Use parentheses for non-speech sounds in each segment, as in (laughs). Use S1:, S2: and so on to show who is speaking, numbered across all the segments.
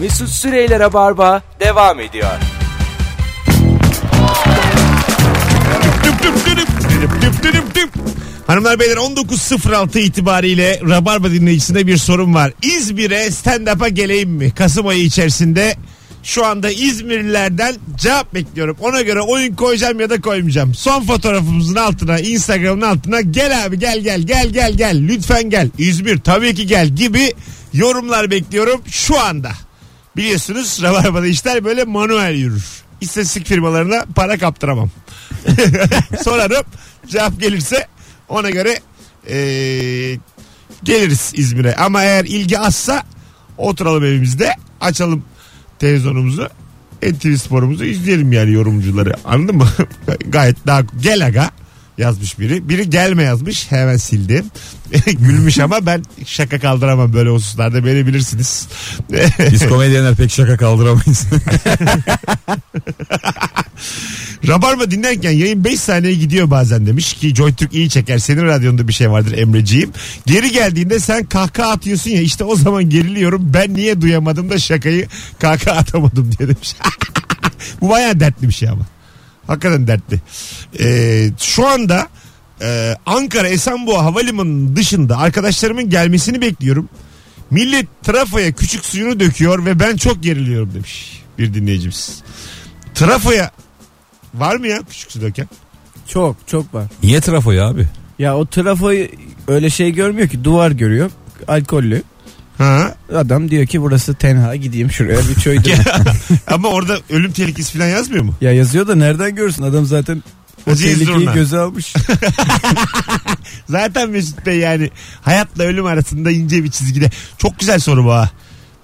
S1: Mesut Süreyler'e barba devam ediyor.
S2: Düp düp düdüp, düdüp düp düdüp düp. Hanımlar beyler 19.06 itibariyle Rabarba dinleyicisinde bir sorum var. İzmir'e stand-up'a geleyim mi? Kasım ayı içerisinde şu anda İzmirlilerden cevap bekliyorum. Ona göre oyun koyacağım ya da koymayacağım. Son fotoğrafımızın altına, Instagram'ın altına gel abi gel gel gel gel gel lütfen gel. İzmir tabii ki gel gibi yorumlar bekliyorum şu anda. Biliyorsunuz Rabarba'da işler böyle manuel yürür. İstatistik firmalarına para kaptıramam. (laughs) Sorarım. Cevap gelirse ona göre eee, geliriz İzmir'e. Ama eğer ilgi azsa oturalım evimizde. Açalım televizyonumuzu. NTV sporumuzu izleyelim yani yorumcuları. Anladın mı? (laughs) Gayet daha gel aga yazmış biri. Biri gelme yazmış. Hemen sildim. (laughs) Gülmüş ama ben şaka kaldıramam böyle hususlarda. Beni bilirsiniz. (laughs)
S3: Biz komedyenler pek şaka kaldıramayız.
S2: Rabarba dinlerken yayın 5 saniye gidiyor bazen demiş ki Joytürk iyi çeker senin radyonda bir şey vardır Emreciğim. Geri geldiğinde sen kahkaha atıyorsun ya işte o zaman geriliyorum ben niye duyamadım da şakayı kahkaha atamadım diye demiş. (laughs) Bu bayağı dertli bir şey ama. Hakikaten dertli. Ee, şu anda e, Ankara Esenboğa Havalimanı'nın dışında arkadaşlarımın gelmesini bekliyorum. Millet trafoya küçük suyunu döküyor ve ben çok geriliyorum demiş bir dinleyicimiz. Trafoya Var mı ya küçük su döken?
S4: Çok çok var.
S3: (laughs) Niye trafo ya abi?
S4: Ya o trafoyu öyle şey görmüyor ki duvar görüyor. Alkollü.
S2: Ha.
S4: Adam diyor ki burası tenha gideyim şuraya bir
S2: (laughs)
S4: çöy döneyim.
S2: Ama orada ölüm tehlikesi falan yazmıyor mu?
S4: ya yazıyor da nereden görürsün adam zaten o
S2: Aziz
S4: tehlikeyi
S2: Zurna. (laughs)
S4: göze almış.
S2: Zaten Mesut Bey yani hayatla ölüm arasında ince bir çizgide. Çok güzel soru bu ha.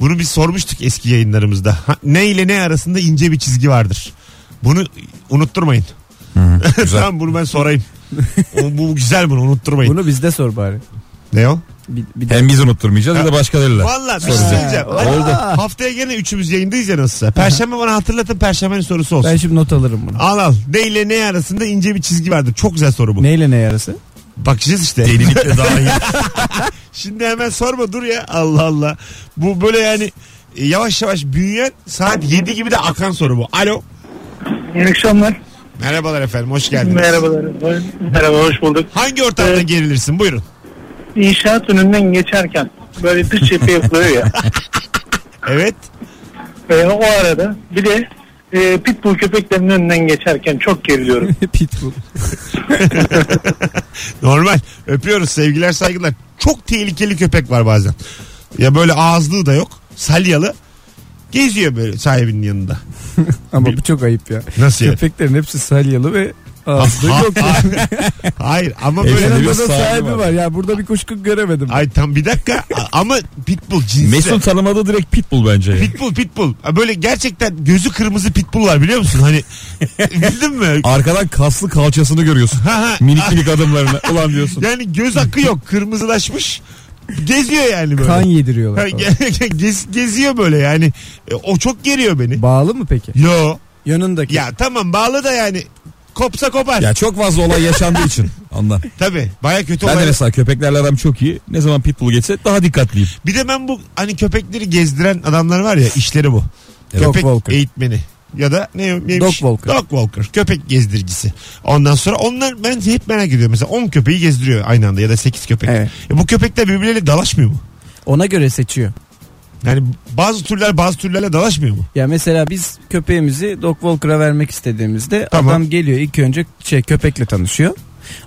S2: Bunu biz sormuştuk eski yayınlarımızda. Ha, ne ile ne arasında ince bir çizgi vardır. Bunu unutturmayın. (laughs) tamam bunu ben sorayım. O, bu güzel bunu unutturmayın.
S4: Bunu bizde sor bari.
S2: Ne o?
S4: Bir, bir de-
S3: Hem biz unutturmayacağız ya da başkalarıyla.
S2: Valla bir şey söyleyeceğim.
S4: Ha,
S2: Hadi
S4: orada.
S2: Haftaya gene üçümüz yayındayız ya nasılsa. Perşembe bana hatırlatın perşembenin sorusu olsun.
S4: Ben şimdi not alırım bunu.
S2: Al al. Ne ile ne arasında ince bir çizgi vardır. Çok güzel soru bu.
S4: Neyle ne yarası? (laughs)
S2: Bakacağız işte.
S3: Delilik de (laughs) dahil.
S2: Şimdi hemen sorma dur ya. Allah Allah. Bu böyle yani e, yavaş yavaş büyüyen saat 7 gibi de akan soru bu. Alo.
S5: İyi akşamlar.
S2: Merhabalar efendim hoş geldiniz.
S5: Merhabalar. Merhaba hoş bulduk.
S2: Hangi ortamda
S5: Evet.
S2: gerilirsin? Buyurun.
S5: İnşaat önünden geçerken böyle dış cephe yapılıyor (laughs) ya.
S2: Evet.
S5: Ee, o arada bir de e, pitbull köpeklerinin önünden geçerken çok geriliyorum.
S4: Pitbull.
S2: Normal. Öpüyoruz. Sevgiler saygılar. Çok tehlikeli köpek var bazen. Ya böyle ağızlığı da yok. Salyalı. Geziyor böyle sahibinin yanında.
S4: Ama bu çok ayıp ya.
S2: Nasıl yani?
S4: Köpeklerin hepsi salyalı ve ağızlı
S2: Ha-
S4: yok.
S2: (laughs)
S4: (laughs)
S2: Hayır ama
S3: Evde
S2: böyle...
S3: de
S4: Yanında
S3: bir
S4: da
S3: sahibi
S4: sahibi
S3: var.
S4: var. Ya burada bir kuşku göremedim.
S2: Ay tam bir dakika A- ama pitbull cinsi.
S3: Mesut tanımadı direkt pitbull bence. ya.
S2: Pitbull pitbull. Ha, Böyle gerçekten gözü kırmızı pitbull var biliyor musun?
S3: (laughs)
S2: Hani bildin mi?
S3: Arkadan kaslı kalçasını görüyorsun.
S2: Ha, ha.
S3: minik minik adımlarını. Ulan diyorsun.
S2: Yani göz hakkı yok. Kırmızılaşmış. Geziyor yani böyle.
S4: Kan
S2: Ha,
S4: yediriyorlar. falan.
S2: ge- ge- gez- geziyor böyle yani. E, o çok geriyor beni.
S4: Bağlı mı peki?
S2: Yo.
S4: Yanındaki.
S2: Ya tamam bağlı da yani kopsa kopar.
S3: Ya çok fazla olay yaşandığı için ondan.
S2: Tabii. Baya kötü
S3: Ben de
S2: olay.
S3: mesela köpeklerle aram çok iyi. Ne zaman pitbull geçse daha dikkatliyim.
S2: Bir de ben bu hani köpekleri gezdiren adamlar var ya işleri bu.
S3: Evet.
S2: Köpek
S4: Dog walker.
S2: eğitmeni. Ya da ne, neymiş?
S4: Dog walker.
S2: Dog walker. Köpek gezdiricisi. Ondan sonra onlar ben hep merak ediyorum. Mesela 10 köpeği gezdiriyor aynı anda ya da 8 köpek.
S4: Evet.
S2: E bu köpekler birbirleriyle dalaşmıyor mu?
S4: Ona göre seçiyor.
S2: Yani bazı türler bazı türlerle dalaşmıyor mu?
S4: Ya mesela biz köpeğimizi Doc Walker'a vermek istediğimizde
S2: Tamam.
S4: adam geliyor ilk önce şey köpekle tanışıyor.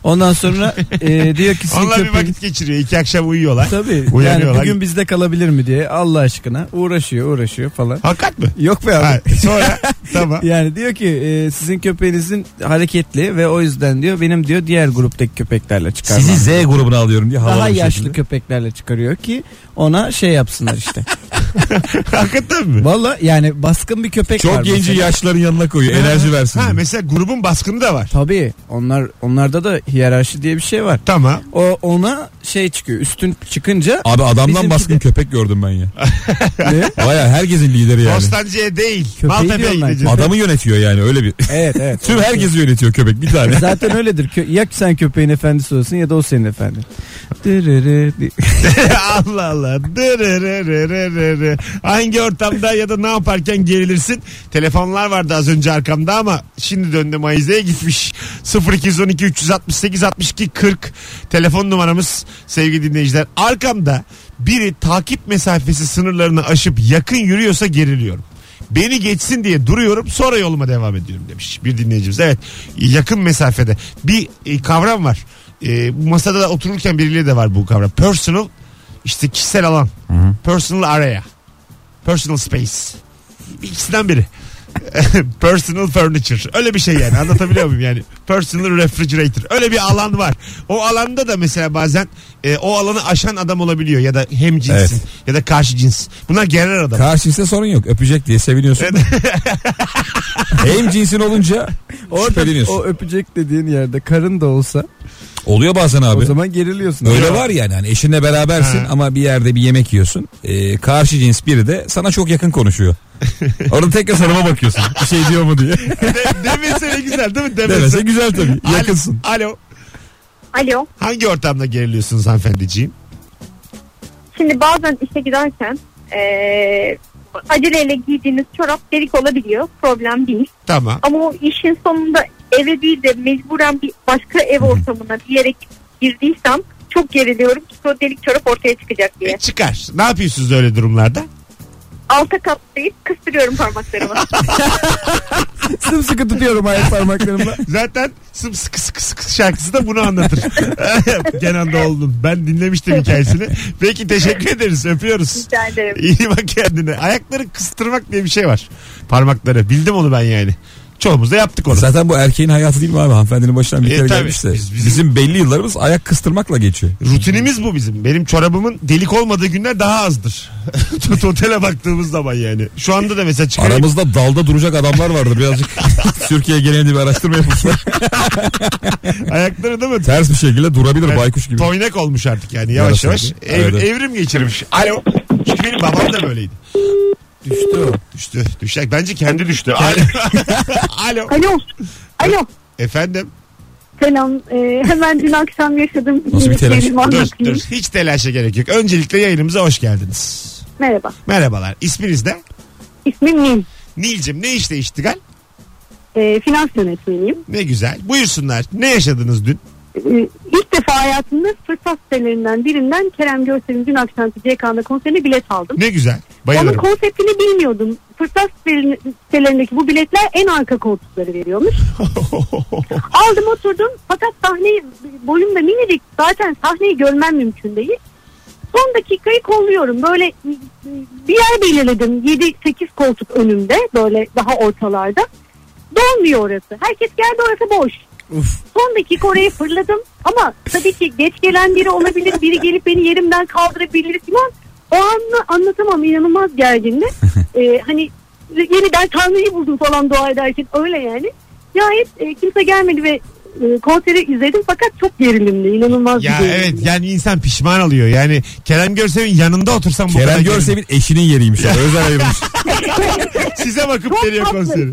S4: Ondan sonra e, diyor ki sizin
S2: Onlar bir
S4: köpeğiniz...
S2: vakit geçiriyor. iki akşam uyuyorlar.
S4: Tabii yani
S2: Uyanıyorlar.
S4: bugün bizde kalabilir mi diye Allah aşkına uğraşıyor uğraşıyor falan.
S2: Hakikat mı?
S4: Yok be abi.
S2: Ha, sonra
S4: (laughs)
S2: tamam.
S4: Yani diyor ki e, sizin köpeğinizin hareketli ve o yüzden diyor benim diyor diğer gruptaki köpeklerle çıkarmam.
S3: Sizi Z grubuna alıyorum diye havalı
S4: daha
S3: bir
S4: yaşlı
S3: şekilde.
S4: köpeklerle çıkarıyor ki ona şey yapsınlar işte.
S2: Hakikaten mi?
S4: Valla yani baskın bir köpek var.
S3: Çok genci
S4: mesela.
S3: yaşların yanına koyuyor. Enerji versin.
S2: Ha
S3: diye.
S2: mesela grubun baskını da var.
S4: Tabii onlar onlarda da hiyerarşi diye bir şey var.
S2: Tamam.
S4: O ona şey çıkıyor. Üstün
S2: (laughs)
S4: çıkınca
S3: Abi adamdan
S4: Bizimki
S3: baskın
S4: de-
S3: köpek gördüm ben ya.
S4: ne?
S3: Baya herkesin lideri yani.
S2: Bostancı'ya değil.
S4: Köpeği
S2: Maltepe'ye
S4: diyorum ben.
S2: gideceğiz.
S3: Adamı yönetiyor yani öyle bir.
S4: Evet evet.
S3: Tüm (laughs) herkesi yönetiyor köpek bir tane.
S4: Zaten öyledir. Kö- Ya sen köpeğin efendisi olsun ya da o senin efendi. Dırırı diye.
S2: (laughs) Allah Allah. Dırırırırırırı. Hangi ortamda ya da ne yaparken gerilirsin? Telefonlar vardı az önce arkamda ama şimdi döndü Mayize'ye gitmiş. 0212 368 62 40 telefon numaramız sevgili dinleyiciler. Arkamda biri takip mesafesi sınırlarını aşıp yakın yürüyorsa geriliyorum. Beni geçsin diye duruyorum sonra yoluma devam ediyorum demiş bir dinleyicimiz. Evet yakın mesafede bir e, kavram var. E, bu masada da otururken birileri de var bu kavram. Personal işte kişisel alan. Personal area. Personal space. İkisinden biri. (laughs) personal furniture. Öyle bir şey yani anlatabiliyor muyum yani? Personal refrigerator. Öyle bir alan var. O alanda da mesela bazen e, o alanı aşan adam olabiliyor ya da hem cinsin
S3: Evet.
S2: ya da karşı cins. Bunlar genel adam.
S3: Karşıysa sorun yok. Öpecek diye seviniyorsun. (laughs) Hem cinsin olunca
S4: Orada
S3: şüpheleniyorsun.
S4: o öpecek dediğin yerde karın da olsa
S3: Oluyor bazen abi.
S4: o zaman geriliyorsun.
S3: Öyle var yani hani eşinle berabersin
S2: Ha.
S3: ama bir yerde bir yemek yiyorsun. Ee, karşı cins biri de sana çok
S2: (laughs)
S3: yakın konuşuyor. Orada tekrar sarıma bakıyorsun. Bir şey diyor mu diye.
S2: De- demesi ne güzel değil mi? Demesi.
S3: Demese güzel tabii.
S2: Alo-
S3: Yakınsın.
S2: Alo.
S6: Alo.
S2: Hangi ortamda geriliyorsunuz hanımefendiciğim?
S6: Şimdi bazen işe giderken eee aceleyle giydiğiniz çorap delik olabiliyor. Problem değil.
S2: Tamam.
S6: Ama o işin sonunda eve değil de mecburen bir başka ev ortamına bir yere girdiysem çok geriliyorum. Çünkü o delik çorap ortaya çıkacak diye.
S2: E, çıkar. Ne yapıyorsunuz öyle durumlarda?
S6: Alta katlayıp
S3: (laughs)
S6: kıstırıyorum parmaklarımı.
S4: Sımsıkı tutuyorum
S2: (laughs)
S4: ayak parmaklarımla.
S2: Zaten sımsıkı sıkı sıkı şarkısı da bunu anlatır. (laughs) Kenan Doğulu'nun. Ben dinlemiştim hikayesini. Peki teşekkür ederiz. Öpüyoruz.
S6: Rica ederim.
S2: İyi bak kendine. Ayakları kıstırmak diye bir şey var. Parmakları. Bildim onu ben yani. Çoğumuz da yaptık onu.
S3: Zaten bu erkeğin hayatı değil mi abi? Hanımefendinin başından bir
S2: E,
S3: kere
S2: tabii.
S3: gelmiş de.
S2: Biz- bizim-
S3: bizim... belli yıllarımız ayak kıstırmakla geçiyor.
S2: Rutinimiz bu bizim. Benim çorabımın delik olmadığı günler daha azdır. (laughs) Totele baktığımız zaman yani. Şu anda da mesela çıkarayım.
S3: Aramızda dalda duracak adamlar
S2: (laughs)
S3: vardı birazcık. Türkiye genelinde bir araştırma yapılsa.
S2: Ayakları değil mi?
S3: Ters bir şekilde durabilir
S2: Yani
S3: baykuş gibi.
S2: Toynak olmuş artık yani yavaş
S3: Yarasa
S2: yavaş.
S3: gibi.
S2: Ev-
S3: Evet.
S2: Evrim geçirmiş. Alo. Çünkü benim babam da böyleydi.
S4: Düştü o.
S2: Düştü. Düşecek. Bence kendi düştü. Alo. Alo. (laughs)
S6: Alo. Alo.
S2: Efendim.
S6: Selam. Ee, hemen dün akşam yaşadığım
S3: Nasıl bir telaş?
S6: şeyimi
S2: Dur
S6: anlatayım.
S2: dur. Hiç telaşa gerek yok. Öncelikle yayınımıza hoş geldiniz.
S6: Merhaba.
S2: Merhabalar. İsminiz ne?
S6: İsmim Nil.
S2: Nilcim ne işte iştigal?
S6: Ee, finans yönetmeniyim.
S2: Ne güzel. Buyursunlar. Ne yaşadınız dün?
S6: Ee, ilk defa hayatımda fırsat sitelerinden birinden Kerem Görsel'in dün akşamki CK'nda konserine bilet aldım.
S2: Ne güzel.
S6: Onun
S2: Bayılırım.
S6: konseptini bilmiyordum. Fırsat sitelerine- sitelerindeki bu biletler en arka koltukları veriyormuş. Aldım oturdum fakat sahneyi boyum da minicik zaten sahneyi görmem mümkün değil. Son dakikayı kolluyorum böyle e, bir yer belirledim 7-8 koltuk önümde böyle daha ortalarda. Dolmuyor orası herkes geldi orası boş.
S4: Uf.
S6: Son dakika oraya fırladım ama tabii ki geç gelen biri olabilir biri gelip beni yerimden kaldırabilir falan. O anı anlatamam inanılmaz
S2: (laughs)
S6: gergindi. Ee, hani yeniden Tanrı'yı buldum falan dua ederken öyle yani. Nihayet e, kimse gelmedi ve e, konseri izledim fakat çok gerilimli inanılmaz
S2: Ya
S6: bir şey.
S2: evet
S6: gerilimli.
S2: yani insan pişman oluyor. Yani Kerem Görsel'in yanında otursam bu kadar
S3: Kerem
S2: gerilim.
S3: Görsel'in eşinin yeriymiş. Yani. Özel ayrılmış.
S2: Size bakıp
S6: Çok
S2: veriyor
S6: tatlı.
S2: konseri.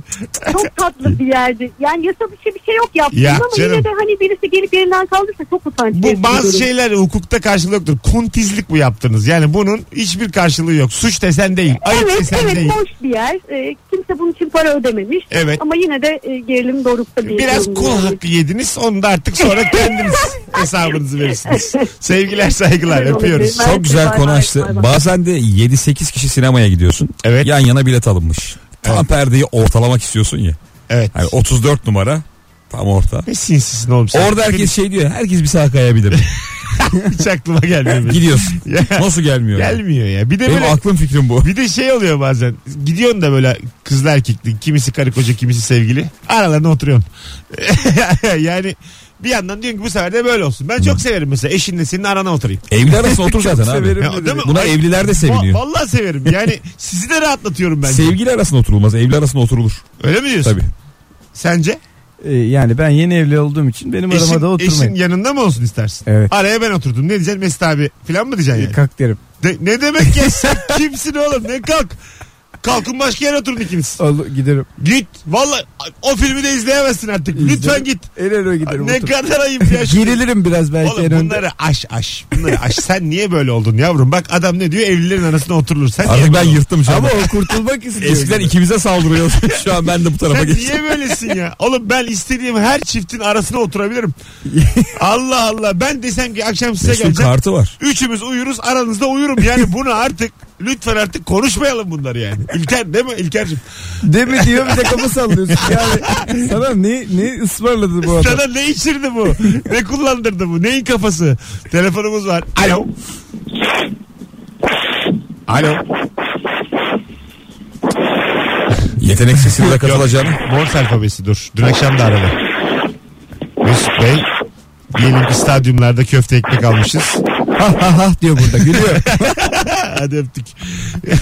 S6: Çok tatlı bir yerdi. Yani yasa dışı bir şey yok yaptım
S2: Ya
S6: ama
S2: canım.
S6: yine de hani birisi gelip yerinden kaldırsa çok utanç. verici
S2: Bu
S6: bir
S2: bazı
S6: durum.
S2: şeyler hukukta karşılığı yoktur. Kuntizlik bu yaptınız. Yani bunun hiçbir karşılığı yok. Suç desen değil. Ayıp
S6: Evet
S2: desen
S6: evet
S2: değil.
S6: boş bir yer. Ee, kimse bunun için para ödememiş.
S2: Evet.
S6: Ama yine de e, gerilim dorukta bir
S2: Biraz
S6: durum
S2: kul
S6: yani.
S2: hakkı yediniz. Onu da artık
S6: (laughs)
S2: sonra kendiniz hesabınızı verirsiniz. Sevgiler saygılar
S6: Güzel
S2: öpüyoruz.
S6: olabilir.
S3: Çok güzel
S6: Bay
S3: konu
S6: bay,
S3: açtı.
S6: bay bay.
S3: Bazen de 7-8 kişi sinemaya gidiyorsun.
S2: Evet.
S3: Yan yana bilet alınmış. Tam
S2: Evet.
S3: perdeyi ortalamak istiyorsun ya.
S2: Evet.
S3: Hani 34 numara tam orta.
S2: Ne sinsisin oğlum sen.
S3: Orada herkes şey diyor. Herkes bir sağa kayabilir.
S2: Hiç aklıma
S3: (laughs)
S2: gelmiyor. benim.
S3: Gidiyorsun.
S2: Ya,
S3: Nasıl gelmiyor? ya?
S2: gelmiyor ya. Bir de
S3: Benim
S2: böyle
S3: aklım fikrim bu.
S2: bir de şey oluyor bazen. Gidiyorsun da böyle kızla erkekli. Kimisi karı koca kimisi sevgili. Aralarına oturuyorsun. (laughs) yani bir yandan diyorsun ki bu sefer de böyle olsun. Ben çok severim mesela eşinle senin arana oturayım.
S3: Evli arasında otur zaten
S4: severim
S3: abi.
S2: Ya, değil mi?
S3: Buna
S2: Ay-
S3: evliler de
S2: Va-
S3: seviniyor.
S2: Vallahi severim.
S4: (laughs)
S2: Yani sizi de rahatlatıyorum bence.
S3: Sevgili arasında oturulmaz. Evli arasında oturulur.
S2: Öyle mi diyorsun?
S3: Tabii.
S2: Sence?
S4: Ee, yani ben yeni evli olduğum için benim
S2: Eşin,
S4: aramada
S2: eşin
S4: oturmayın.
S2: yanında mı olsun istersin?
S4: Evet.
S2: Araya ben oturdum. Ne diyeceksin
S4: Ee,
S2: Mesut abi falan mı diyeceksin yani?
S4: Kalk derim.
S2: (laughs) De- ne demek ya sen kimsin oğlum ne kalk? kalkın başka yere oturun ikiniz.
S4: Al, giderim.
S2: Git. Valla o filmi de izleyemezsin artık. Lütfen
S4: İzlerim.
S2: git.
S4: En öne giderim.
S2: Ne
S4: otur.
S2: kadar ayıp
S4: (laughs)
S2: ya. şu-
S4: Gerilirim biraz belki en
S2: Oğlum
S4: önde.
S2: bunları aş aş. Bunları aş. Sen niye böyle oldun yavrum? Bak adam ne diyor evlilerin arasına oturulur. Sen niye
S3: Artık ben
S2: böyle oldun?
S3: yırttım şu
S4: Ama
S3: anda.
S4: o kurtulmak istiyor.
S3: Eskiden ikimize saldırıyordu. (laughs) Şu an ben de bu tarafa
S2: Sen
S3: geçtim.
S2: niye böylesin ya? Oğlum ben istediğim her çiftin arasına
S4: (laughs)
S2: oturabilirim. Allah Allah. Ben desem ki akşam size
S3: Mesut'un
S2: geleceğim.
S3: kartı var.
S2: Üçümüz uyuruz aranızda uyurum. Yani bunu artık lütfen artık konuşmayalım bunları yani. İlker değil mi İlker'cim?
S4: Değil mi diyor bir de kafa sallıyorsun. Yani sana ne, ne ısmarladı bu adam?
S2: Sana ne içirdi bu? Ne kullandırdı bu? Neyin kafası? Telefonumuz var. Alo. Alo.
S3: Yetenek sesiyle katılacağını.
S2: Morse alfabesi dur. Dün akşam da aradı. Mesut Bey. Diyelim ki stadyumlarda köfte ekmek almışız.
S4: Ha ha ha diyor burada gülüyor.
S2: Hadi öptük.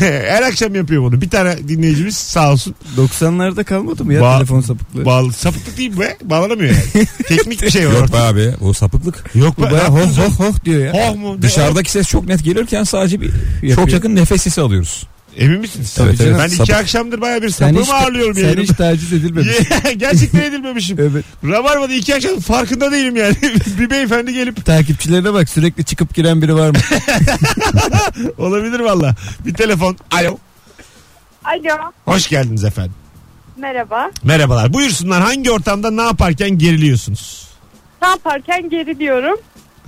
S2: (laughs) Her akşam yapıyor bunu. Bir tane dinleyicimiz sağ olsun.
S4: 90'larda kalmadı mı ya
S2: Ba-
S4: telefon sapıklığı?
S2: Bağlı, sapıklık değil be. Bağlanamıyor yani. Teknik bir şey var.
S3: (laughs) Yok
S2: orada.
S3: be abi o sapıklık.
S2: Yok
S4: bu
S2: be.
S4: baya hoh hoh hoh diyor ya.
S2: Oh mu? Ne-
S3: Dışarıdaki ses çok net gelirken sadece bir çok
S4: Yapıyor.
S3: yakın nefes sesi alıyoruz.
S2: Emin misiniz?
S3: Tabii
S2: Ben
S3: canım,
S2: ben
S3: sapık.
S2: iki akşamdır baya bir
S4: Sen
S2: sapığımı
S4: hiç,
S2: ağırlıyorum
S4: sen
S2: yani. (laughs)
S4: hiç taciz edilmemiş.
S2: Gerçekten edilmemişim.
S4: evet.
S2: Rabarba'da iki akşam farkında değilim yani. (laughs) bir beyefendi gelip
S4: Takipçilerine bak sürekli çıkıp giren biri var mı?
S2: olabilir valla. Bir telefon. Alo.
S7: Alo,
S2: Hoş geldiniz efendim.
S7: merhaba.
S2: Merhabalar. Buyursunlar hangi ortamda ne yaparken
S3: (laughs)
S2: geriliyorsunuz?
S7: Ne yaparken geriliyorum.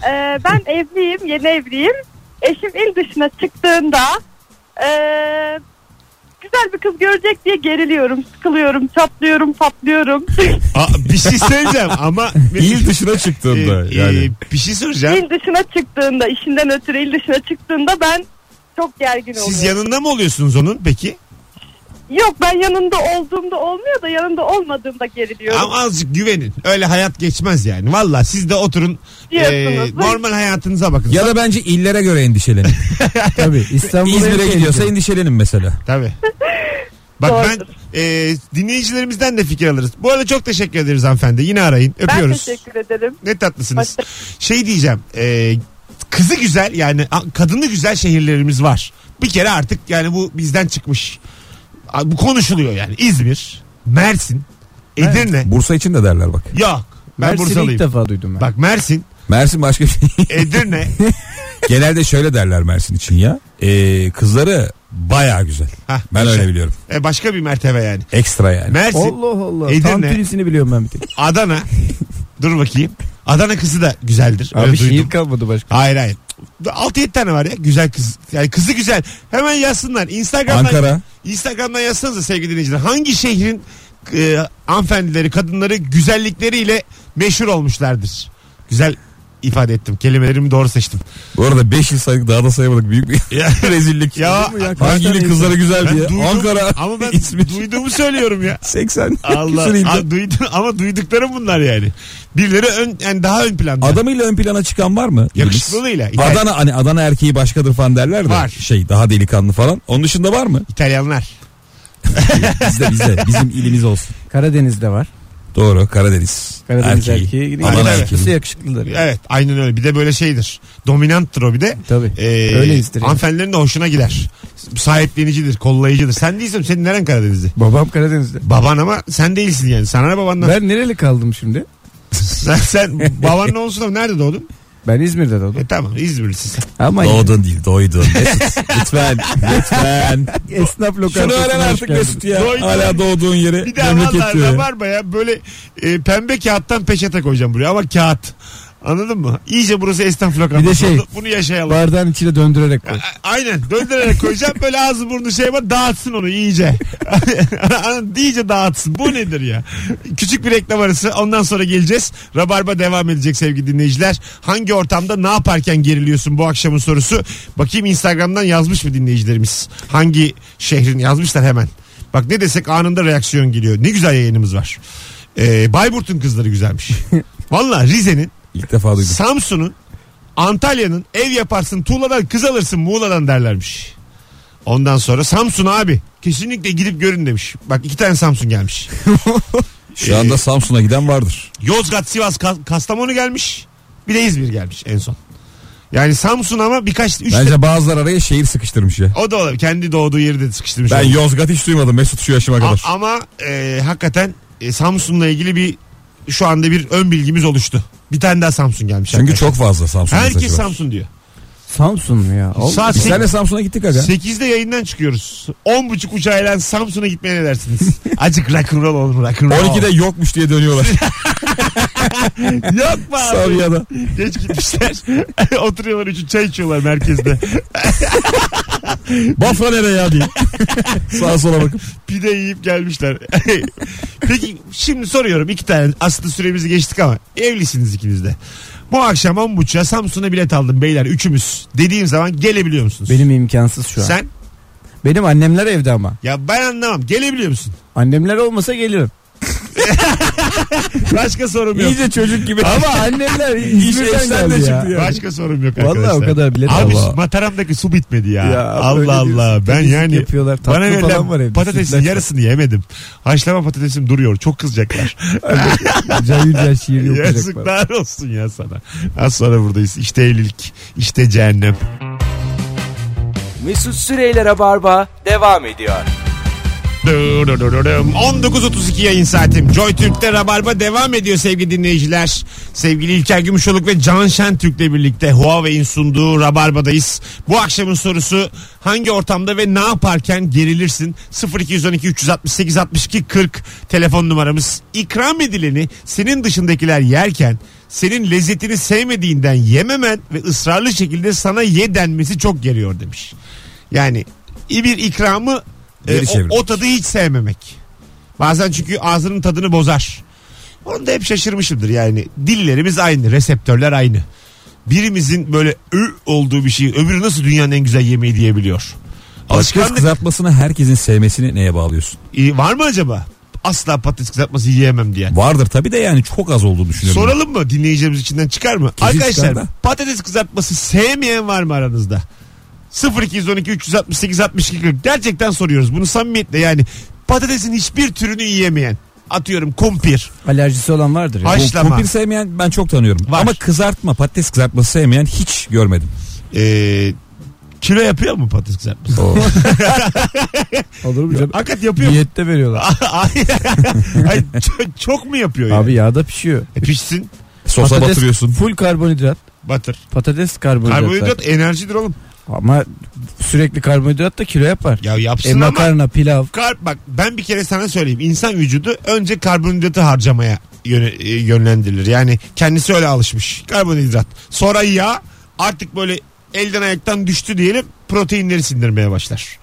S7: Ee, ben (laughs) evliyim, yeni evliyim. Eşim il dışına çıktığında ee, güzel bir kız görecek diye geriliyorum, sıkılıyorum, çatlıyorum, patlıyorum.
S2: Aa, bir şey söyleyeceğim ama...
S3: İl dışına çıktığında
S2: Ee,
S3: yani.
S2: e, bir şey soracağım.
S7: il dışına çıktığında, işinden ötürü il dışına çıktığında ben çok gergin oluyorum.
S2: Siz yanında mı oluyorsunuz onun peki?
S7: Yok ben yanında olduğumda olmuyor da yanında olmadığımda geriliyorum.
S2: Ama azıcık güvenin. Öyle hayat geçmez yani. Valla siz de oturun
S7: Diyorsunuz.
S2: e, normal hayatınıza bakın.
S3: Ya da bence illere göre (laughs) endişelenin.
S4: Tabii İstanbul'a
S3: İzmir'e
S4: yakın
S3: gidiyorsa
S4: gidiyor.
S3: endişelenin mesela.
S2: Tabii. Bak ben
S7: Doğrudur.
S2: e, dinleyicilerimizden de fikir alırız. Bu arada çok teşekkür ederiz hanımefendi. Yine arayın.
S7: ben
S2: Öpüyoruz.
S7: teşekkür ederim.
S2: Ne tatlısınız. Şey diyeceğim. e, kızı güzel yani a- kadını güzel şehirlerimiz var. Bir kere artık yani bu bizden çıkmış. A- Bu konuşuluyor yani. İzmir, Mersin, Edirne.
S3: Bursa için de derler bak.
S2: Yok. Ben
S4: Mersin'i ilk
S2: Bursalıyım.
S4: defa duydum ben.
S2: Bak Mersin,
S3: Mersin başka bir şey. (laughs)
S4: (laughs)
S2: Edirne.
S3: Genelde şöyle derler Mersin için ya. Ee, kızları baya güzel.
S2: Hah,
S3: ben
S2: yaşa.
S3: öyle biliyorum.
S2: E, başka bir mertebe yani.
S3: Ekstra yani.
S2: Mersin,
S4: Allah Allah. Tam
S2: Edirne.
S4: Tunis'ini biliyorum ben bir tek.
S2: Adana. Dur bakayım. Adana kızı da güzeldir. Öyle
S4: Abi
S2: duydum.
S4: şiir kalmadı başka.
S2: Hayır hayır. 6-7 tane var ya güzel kız. Yani kızı güzel. Hemen yazsınlar. Instagram'dan,
S3: Ankara.
S2: Instagram'dan yazsanıza sevgili dinleyiciler. Hangi şehrin e, hanımefendileri, kadınları güzellikleriyle meşhur olmuşlardır? Güzel ifade ettim. Kelimelerimi doğru
S3: (laughs)
S2: seçtim.
S3: Bu arada 5 yıl saydık daha da sayamadık. Büyük bir (laughs)
S2: Ya-
S3: rezillik.
S2: Ya,
S3: Hangi ilin kızları güzel
S2: ben
S3: diye.
S2: duydum,
S3: Ankara.
S2: ama
S3: (laughs)
S2: ben
S3: İzmir.
S2: duyduğumu söylüyorum
S3: (laughs)
S2: ya.
S3: 80.
S2: Allah
S3: Küsur ilde.
S2: A- duydu, ama duyduklarım bunlar yani. Birileri ön, yani daha ön planda.
S3: Adamıyla ön plana çıkan var mı?
S2: Yakışıklılığıyla.
S3: Yıldız. Adana hani Adana erkeği başkadır falan derler de.
S2: Var.
S3: Şey daha delikanlı falan. Onun dışında var mı?
S2: İtalyanlar.
S3: Bizde bizde. Bizim ilimiz olsun.
S4: Karadeniz'de var.
S3: Doğru Karadeniz.
S4: Karadeniz erkeği. gidiyor.
S3: Adana
S2: Evet.
S3: erkeği.
S4: Yakışıklısı yakışıklıdır. yani.
S2: Evet aynen öyle. Bir de böyle şeydir. Dominanttır o bir de.
S4: Tabii.
S2: Ee,
S4: Öyle isterim.
S2: Hanımefendilerin de hoşuna gider. Sahiplenicidir, kollayıcıdır. Sen değilsin. Senin neren Karadenizli?
S4: Babam Karadeniz'de.
S2: Baban ama sen değilsin yani. Sana ne babandan?
S4: Ben nereli kaldım şimdi?
S2: sen, sen baban ne olsun ama nerede doğdun?
S4: Ben İzmir'de doğdum.
S2: E tamam İzmirlisin sen.
S4: Ama
S3: Doğdun değil doydun. Mesut lütfen lütfen.
S4: esnaf lokantasına
S3: Şunu öğren
S4: hoş
S3: artık
S4: geldin.
S3: Mesut ya.
S2: Doydun.
S3: Hala doğduğun yeri
S2: Bir daha
S3: memleket diyor.
S2: vallahi
S3: ya.
S2: var mı ya böyle e, pembe kağıttan peçete koyacağım buraya ama kağıt. Anladın mı? İyice burası esnaf lokantası.
S4: Bir de şey,
S2: oldu. Bunu yaşayalım.
S4: Bardağın içine döndürerek koy.
S2: A- Aynen döndürerek koyacağım böyle ağzı burnu şey var dağıtsın onu iyice. (laughs) iyice dağıtsın. Bu nedir ya? Küçük bir reklam arası ondan sonra geleceğiz. Rabarba devam edecek sevgili dinleyiciler. Hangi ortamda ne yaparken geriliyorsun bu akşamın sorusu. Bakayım Instagram'dan yazmış mı dinleyicilerimiz? Hangi şehrin yazmışlar hemen. Bak ne desek anında reaksiyon geliyor. Ne güzel yayınımız var. Ee, Bayburt'un kızları güzelmiş. Valla Rize'nin
S3: İlk defa duydum.
S2: Samsun'un Antalya'nın ev yaparsın Tuğla'dan kız alırsın Muğla'dan derlermiş. Ondan sonra Samsun abi kesinlikle gidip görün demiş. Bak iki tane Samsun gelmiş.
S3: Şu anda Samsun'a giden vardır.
S2: Yozgat, Sivas, Ka- Kastamonu gelmiş. Bir de İzmir gelmiş en son. Yani Samsun ama birkaç üç
S3: Bence bazılar araya şehir sıkıştırmış ya.
S2: o da olabilir. Kendi doğduğu yeri de sıkıştırmış.
S3: Ben
S2: olabilir.
S3: Yozgat hiç duymadım Mesut şu yaşıma
S2: Şey- A-
S3: kadar.
S2: ama e, hakikaten e, Samsun'la ilgili bir şu anda bir ön bilgimiz oluştu. Bir tane daha Samsun gelmiş.
S3: Çünkü
S2: arkadaşlar.
S3: çok fazla Samsun
S2: Herkes
S3: mesajı var.
S2: Samsun diyor.
S4: Samsun mu ya? Oğlum,
S2: Saat
S3: Biz
S2: sek-
S3: seninle Samsun'a gittik aga.
S2: 8'de yayından çıkıyoruz. 10.30 uçağıyla Samsun'a gitmeye ne
S4: (laughs)
S2: dersiniz? Acık rock'n'roll olur rock'n'roll.
S3: 12'de yokmuş diye
S2: (laughs)
S3: dönüyorlar.
S2: Yok mu abi?
S3: Sabiha'da.
S2: Geç gitmişler. (laughs) Oturuyorlar üçü çay içiyorlar merkezde.
S3: Bafra nereye
S2: (laughs)
S3: ya diye. Sağa sola bakıp.
S2: Pide yiyip gelmişler. (laughs) Peki şimdi soruyorum iki tane. Aslında süremizi geçtik ama evlisiniz ikiniz de. Bu akşam 10.30'a Samsun'a bilet aldım beyler üçümüz. Dediğim zaman gelebiliyor musunuz?
S4: Benim imkansız şu an.
S2: Sen?
S4: Benim annemler evde ama.
S2: Ya ben anlamam. Gelebiliyor
S4: (laughs)
S2: musun?
S4: Annemler olmasa gelirim.
S2: Başka sorum yok.
S4: çocuk gibi. Ama (laughs) annemler İzmir'den
S3: eşten de
S4: geldi ya.
S3: çıktı ya.
S2: Başka sorum yok
S4: Vallahi
S2: arkadaşlar.
S4: o kadar bilet
S2: Abi
S4: al.
S2: mataramdaki su bitmedi ya.
S4: Ya, öyle
S2: Allah Allah.
S4: diyorsun.
S2: Ben
S4: Temizlik
S2: yani
S4: yapıyorlar. Tatlı
S2: bana
S4: falan var
S2: verilen
S4: evde.
S2: patatesin
S4: Sütlaç var. (laughs)
S2: yarısını yemedim. Haşlama patatesim duruyor. Çok kızacaklar.
S4: Cahil cahil
S2: (laughs)
S4: şiiri okuyacak bana.
S2: Yazıklar olsun ya sana. Az sonra buradayız. İşte evlilik. işte cehennem.
S1: Mesut Süreyler'e barba devam ediyor.
S2: Dı dı dı dı dım. 19.32 yayın saatim. Joy Türk'te Rabarba devam ediyor sevgili dinleyiciler. Sevgili İlker Gümüşoluk ve Can Şentürk'le birlikte Huawei'in sunduğu Rabarba'dayız. Bu akşamın sorusu hangi ortamda ve ne yaparken gerilirsin? 0212 368 62 40 telefon numaramız. İkram edileni senin dışındakiler yerken senin lezzetini sevmediğinden yememen ve ısrarlı şekilde sana ye denmesi çok geriyor demiş. Yani bir ikramı e,
S3: Geri
S2: o-
S3: çevirmek.
S2: o, tadı hiç sevmemek. Bazen çünkü ağzının tadını bozar. Onu da hep şaşırmışımdır yani. Dillerimiz aynı, reseptörler aynı. Birimizin böyle ı olduğu bir şeyi öbürü nasıl dünyanın en güzel yemeği diyebiliyor.
S3: Patates
S2: Alışkanlık
S3: kızartmasını herkesin sevmesini neye bağlıyorsun?
S2: e, var mı acaba? Asla patates kızartması yiyemem diyen.
S3: Vardır tabii de yani çok az olduğunu düşünüyorum.
S2: Soralım mı dinleyicilerimiz içinden çıkar mı?
S3: Kesin
S2: Arkadaşlar
S3: çıkar da.
S2: patates kızartması sevmeyen var mı aranızda? 0212 368 62 40 gerçekten soruyoruz bunu samimiyetle yani patatesin hiçbir türünü yiyemeyen atıyorum kumpir
S4: Alerjisi olan vardır ya.
S2: Ay- haşlama.
S3: Kumpir sevmeyen ben çok tanıyorum.
S2: Var.
S3: Ama kızartma patates kızartması sevmeyen hiç görmedim.
S2: ee, kilo yapıyor mu patates kızartması? (laughs)
S4: Olur mu canım?
S2: Hakikat yapıyor (laughs) mu?
S4: Diyette veriyorlar.
S2: Ay, çok, çok mu yapıyor yani?
S4: Abi yağda pişiyor.
S2: E, pişsin
S3: Sosa
S4: Patates
S3: batırıyorsun.
S4: Full karbonhidrat.
S2: batır.
S4: Patates karbonhidrat.
S2: Karbonhidrat enerjidir oğlum.
S4: Ama sürekli karbonhidrat da kilo yapar.
S2: Ya yapsın
S4: E
S2: ama.
S4: makarna, pilav.
S2: Kar, bak ben bir kere sana söyleyeyim. İnsan vücudu önce karbonhidratı harcamaya yöne- e, yönlendirilir. Yani kendisi öyle alışmış. Karbonhidrat. Sonra yağ artık böyle elden ayaktan düştü diyelim proteinleri sindirmeye başlar.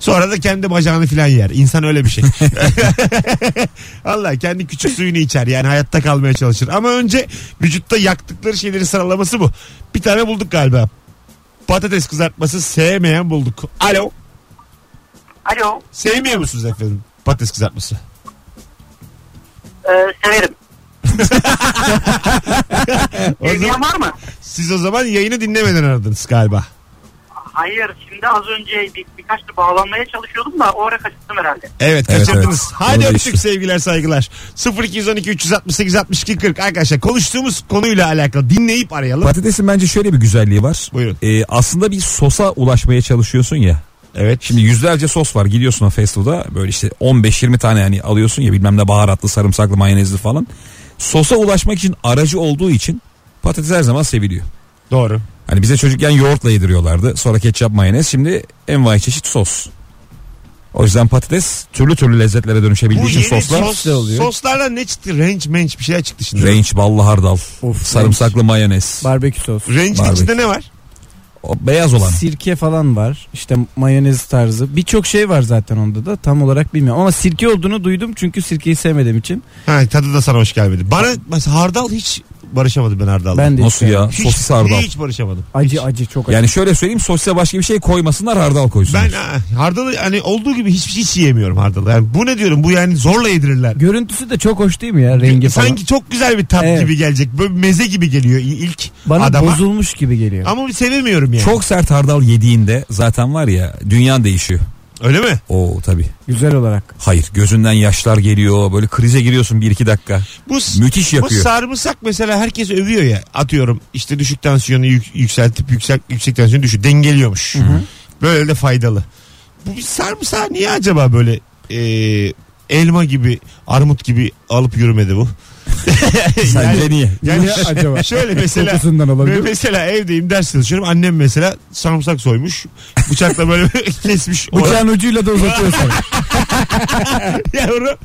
S2: Sonra da kendi bacağını filan yer. İnsan öyle bir şey. (laughs) Allah kendi küçük suyunu içer. Yani hayatta kalmaya çalışır. Ama önce vücutta yaktıkları şeyleri sıralaması bu. Bir tane bulduk galiba. Patates kızartması sevmeyen bulduk. Alo.
S8: Alo,
S2: Sevmiyor musunuz efendim patates kızartması?
S8: e,
S2: (laughs)
S8: severim. Evliyan var mı?
S2: Siz o zaman yayını dinlemeden aradınız galiba.
S8: Hayır, şimdi az önce bir, birkaç da bağlanmaya çalışıyordum da o ara kaçırdım herhalde.
S2: Evet
S3: Evet,
S2: kaçırdınız.
S3: evet.
S2: Hadi
S3: Konu
S2: öptük
S3: değişti.
S2: sevgiler saygılar. 0212 368 62 40 arkadaşlar konuştuğumuz konuyla alakalı dinleyip arayalım.
S3: Patatesin bence şöyle bir güzelliği var.
S2: Buyurun.
S3: Ee, aslında bir sosa ulaşmaya çalışıyorsun ya.
S2: evet.
S3: Şimdi yüzlerce sos var. Gidiyorsun o fast food'a böyle işte 15-20 tane yani alıyorsun ya bilmem ne baharatlı, sarımsaklı, mayonezli falan. Sosa ulaşmak için aracı olduğu için patates her zaman seviliyor.
S2: doğru.
S3: Hani bize çocukken yoğurtla yediriyorlardı. Sonra ketçap, mayonez. Şimdi envai çeşit sos. O yüzden patates türlü türlü lezzetlere dönüşebildiği
S2: Bu
S3: için
S2: yeni
S3: soslar.
S2: sos,
S4: işte oluyor.
S2: soslardan ne çıktı? Ranch menç bir şeyler çıktı şimdi.
S3: Range, ballı hardal,
S4: Of,
S3: sarımsaklı mayonez.
S4: Barbekü sos.
S2: Range'in
S3: Barbekü.
S2: içinde ne var?
S3: O beyaz olan.
S4: Sirke falan var. İşte mayonez tarzı. Birçok şey var zaten onda da. Tam olarak bilmiyorum. Ama sirke olduğunu duydum. Çünkü sirkeyi sevmediğim için.
S2: Ha, tadı da sana hoş gelmedi. Bana mesela hardal hiç barışamadım ben hardalla.
S4: Ben de
S3: Nasıl ya?
S4: sevmiyorum.
S2: hiç,
S3: Sosis hardal.
S2: Hiç barışamadım.
S4: Acı acı çok acı.
S3: Yani şöyle söyleyeyim sosise başka bir şey koymasınlar hardal koysunlar.
S2: Ben ha, hardalı hani olduğu gibi hiçbir şey hiç yiyemiyorum hardalı. Yani bu ne diyorum bu yani zorla yedirirler.
S4: Görüntüsü de çok hoş değil mi ya rengi falan?
S2: Sanki çok güzel bir tat
S4: Evet.
S2: gibi gelecek. Böyle meze gibi geliyor il- ilk
S4: Bana
S2: adama.
S4: bozulmuş gibi geliyor.
S2: Ama sevemiyorum yani.
S3: Çok sert hardal yediğinde zaten var ya dünyan değişiyor.
S2: Öyle mi?
S3: Oo tabii.
S4: Güzel olarak.
S3: Hayır gözünden yaşlar geliyor. Böyle krize giriyorsun bir iki dakika.
S2: Bu
S3: Müthiş
S2: Bu
S3: yakıyor. (laughs)
S2: sarımsak mesela herkes övüyor ya. Atıyorum işte düşük tansiyonu yük- yükseltip yüksek yüksek tansiyonu düşür dengeliyormuş. Böyle de faydalı. Bu bir sarımsak niye acaba böyle e, elma gibi, armut gibi alıp yürümedi bu?
S3: Sence niye?
S2: Yani
S4: Niye acaba?
S2: şöyle mesela
S4: Kokusundan olabilir.
S2: ben mesela evdeyim ders çalışıyorum. Annem mesela sarımsak soymuş. Bıçakla böyle (laughs) kesmiş.
S4: Bıçağın ucuyla
S2: (laughs)
S4: da uzatıyorsun.
S2: Yavrum.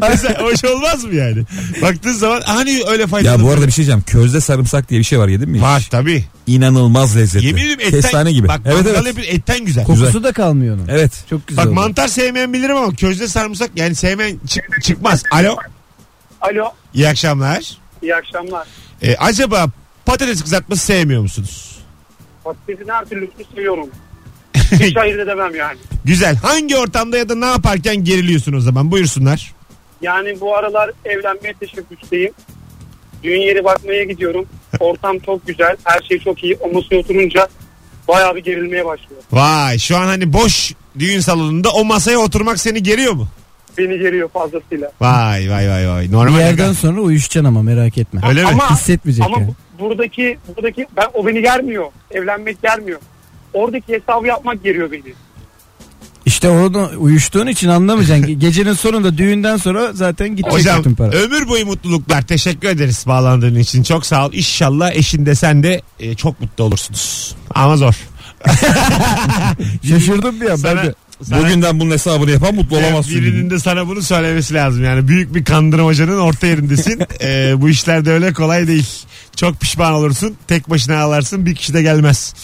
S2: (laughs) mesela hoş olmaz mı yani? Baktığın zaman hani öyle faydalı.
S3: Ya bu arada bir şey diyeceğim. Közde sarımsak diye bir şey var yedin mi? hiç?
S2: Var tabii.
S3: İnanılmaz lezzetli.
S2: Yemin ederim etten.
S3: Kestane gibi.
S2: Bak
S3: evet
S2: mangal
S3: evet.
S2: yapıyor, etten güzel.
S4: Kokusu da kalmıyor onun.
S3: Evet.
S4: Çok güzel.
S2: Bak
S4: oluyor.
S2: mantar sevmeyen bilirim ama közde sarımsak yani sevmeyen çık- çıkmaz. Alo.
S5: Alo
S2: İyi akşamlar.
S5: iyi akşamlar.
S2: Ee, acaba patates kızartması sevmiyor musunuz?
S5: Patatesin her türlüsünü
S8: (laughs)
S5: seviyorum. Hiç ayırt edemem yani.
S2: Güzel. Hangi ortamda ya da ne yaparken geriliyorsun o zaman? Buyursunlar.
S5: Yani bu aralar evlenmeye teşebbüsteyim. Düğün yeri bakmaya gidiyorum. Ortam çok güzel. Her şey çok iyi. O masaya oturunca bayağı bir gerilmeye başlıyor.
S2: Vay şu an hani boş düğün salonunda o masaya oturmak seni geriyor mu?
S5: Beni geriyor fazlasıyla.
S2: Vay vay vay vay. Normal.
S4: bir yerden sonra uyuşacaksın ama merak etme.
S2: Öyle mi?
S5: Ama-
S4: Hissetmeyecek
S5: Ama
S4: yani.
S5: bu- buradaki buradaki ben o beni germiyor. Evlenmek germiyor. Oradaki hesabı yapmak geriyor beni.
S4: İşte onu uyuştuğun için anlamayacaksın. Ge- Gecenin sonunda düğünden sonra zaten gidecek
S2: Hocam
S4: bütün para.
S2: ömür boyu mutluluklar. Teşekkür ederiz bağlandığın için. Çok sağ ol. İnşallah eşin de sen de e, çok mutlu olursunuz. Ama zor.
S4: Şaşırdım bir an ben
S2: Sana-
S4: de.
S2: sana-
S3: Bugünden bunun hesabını yapan mutlu olamazsın.
S2: Birinin de sana bunu söylemesi lazım. Yani büyük bir kandırmacanın orta
S4: (laughs)
S2: yerindesin. Ee, bu işler de öyle kolay değil. Çok pişman olursun. Tek başına ağlarsın. Bir kişi de gelmez.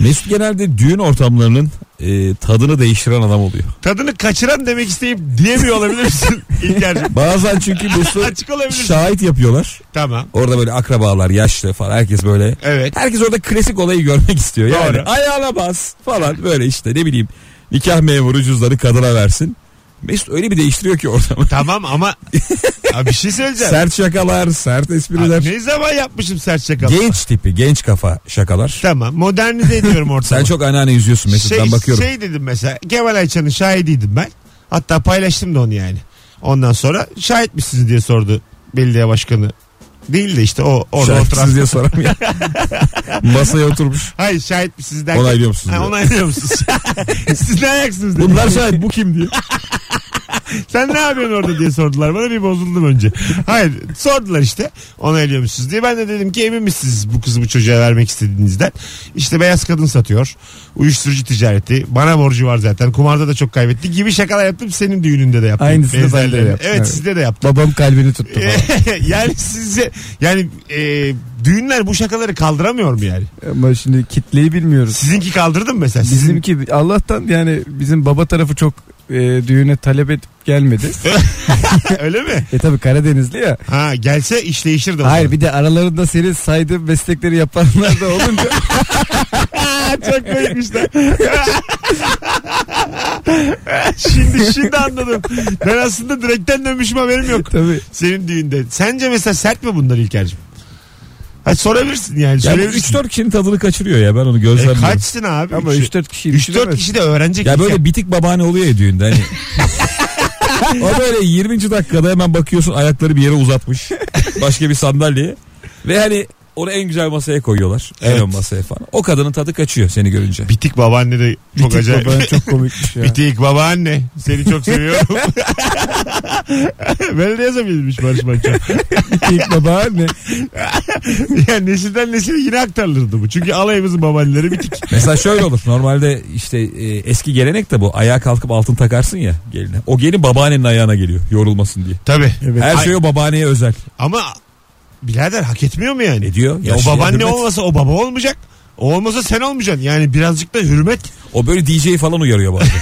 S3: Mesut genelde düğün ortamlarının e, tadını değiştiren adam oluyor.
S2: Tadını kaçıran demek isteyip diyemiyor
S4: (laughs)
S2: olabilirsin. İlker'cim.
S3: Bazen
S2: (laughs)
S3: çünkü Mesut
S2: Açık olabilirsin.
S3: şahit yapıyorlar.
S2: tamam.
S3: Orada böyle akrabalar, yaşlı falan herkes böyle.
S2: Evet.
S3: Herkes orada klasik olayı görmek istiyor. Yani
S2: Doğru.
S3: ayağına bas falan böyle işte ne bileyim nikah memuru cüzdanı kadına versin. Mesut öyle bir değiştiriyor
S2: (laughs)
S3: ki ortamı.
S2: Tamam
S4: (laughs)
S2: ama Abi bir şey söyleyeceğim.
S3: sert şakalar, sert espriler.
S2: Abi ne zaman yapmışım sert şakalı?
S3: genç tipi, genç kafa şakalar.
S2: Tamam modernize
S3: (laughs)
S2: ediyorum ortamı.
S3: Sen çok anneanne yüzüyorsun Mesut ben bakıyorum.
S2: Şey dedim mesela Kemal Ayça'nın şahidiydim ben. Hatta paylaştım da onu yani. Ondan sonra şahit misiniz diye sordu belediye başkanı. Değil de işte o orada oturan.
S3: Şarkısız diye soram ya.
S2: (laughs)
S3: Masaya oturmuş.
S2: Hayır şahit misiniz derken.
S3: Onaylıyor musunuz
S2: Ha,
S3: diyor.
S2: onaylıyor
S3: (laughs)
S2: musunuz? Siz ne ayaksınız dedi.
S3: Bunlar şahit bu kim diye.
S2: Sen ne yapıyorsun orada diye sordular bana bir bozuldum önce. Hayır sordular işte onaylıyor musunuz diye. Ben de dedim ki emin misiniz bu kızı bu çocuğa vermek istediğinizden. İşte beyaz kadın satıyor. Uyuşturucu ticareti. Bana borcu var zaten. Kumarda da çok kaybetti gibi şakalar yaptım. Senin düğününde de yaptım.
S4: Aynısını ben de
S2: Benzerleri.
S4: yaptım,
S2: Evet,
S4: evet.
S2: sizde de yaptım. (laughs)
S4: Babam kalbini tuttu. falan.
S2: yani sizce yani e, düğünler bu şakaları kaldıramıyor mu yani?
S4: Ama şimdi kitleyi bilmiyoruz.
S2: Sizinki kaldırdı mı mesela? Sizin-
S4: Bizimki Allah'tan yani bizim baba tarafı çok e, düğüne talep edip
S2: (laughs)
S4: gelmedi.
S2: (laughs) öyle mi?
S4: e tabi Karadenizli ya.
S2: Ha gelse iş değişir de. o
S4: Hayır bir de aralarında senin saydığın meslekleri yapanlar da olunca
S2: (laughs) Çok koymuş lan. şimdi şimdi anladım. Ben aslında direkten dönmüşüm haberim yok.
S4: tabii.
S2: Senin düğünde. Sence mesela sert mi bunlar İlker'cim? Ha, sorabilirsin yani.
S3: Ya bu
S2: Söyleyebilirsin.
S3: 3-4 kişinin tadını kaçırıyor ya ben onu
S2: E,
S3: gözlemliyorum.
S2: kaçsın abi?
S4: Ama 3-4 kişi
S2: 3-4 kişi de öğrenecek.
S3: ya
S2: İlker.
S3: böyle bitik babaanne oluyor ya düğünde
S4: (laughs)
S3: hani. o böyle 20. dakikada hemen bakıyorsun ayakları bir yere uzatmış. Başka bir sandalyeye. Ve hani onu en güzel masaya koyuyorlar.
S2: Evet.
S3: En ön masaya falan. O kadının tadı kaçıyor seni görünce.
S2: Bitik babaanne de çok
S4: Bitik
S2: acayip.
S4: baban çok
S2: (laughs)
S4: komikmiş ya.
S2: Bitik babaanne. Seni çok seviyorum. Böyle de yazabilmiş Barış Manço.
S4: Bitik babaanne.
S2: yani nesilden nesile yine aktarılırdı bu. Çünkü alayımızın babaanneleri bitik.
S3: Mesela şöyle olur. Normalde işte e, eski gelenek de bu. Ayağa kalkıp altın takarsın ya geline. O gelin babaannenin ayağına geliyor yorulmasın diye.
S2: Tabii.
S4: Evet.
S3: Her şey o babaanneye özel.
S2: Ama birader hak etmiyor mu yani?
S3: Ne diyor?
S2: Ya o
S3: Yaşlıya
S2: babaanne
S3: hürmet.
S2: olmasa o baba olmayacak. O olmasa sen olmayacaksın. Yani birazcık da hürmet.
S3: O böyle DJ falan uyarıyor bazen.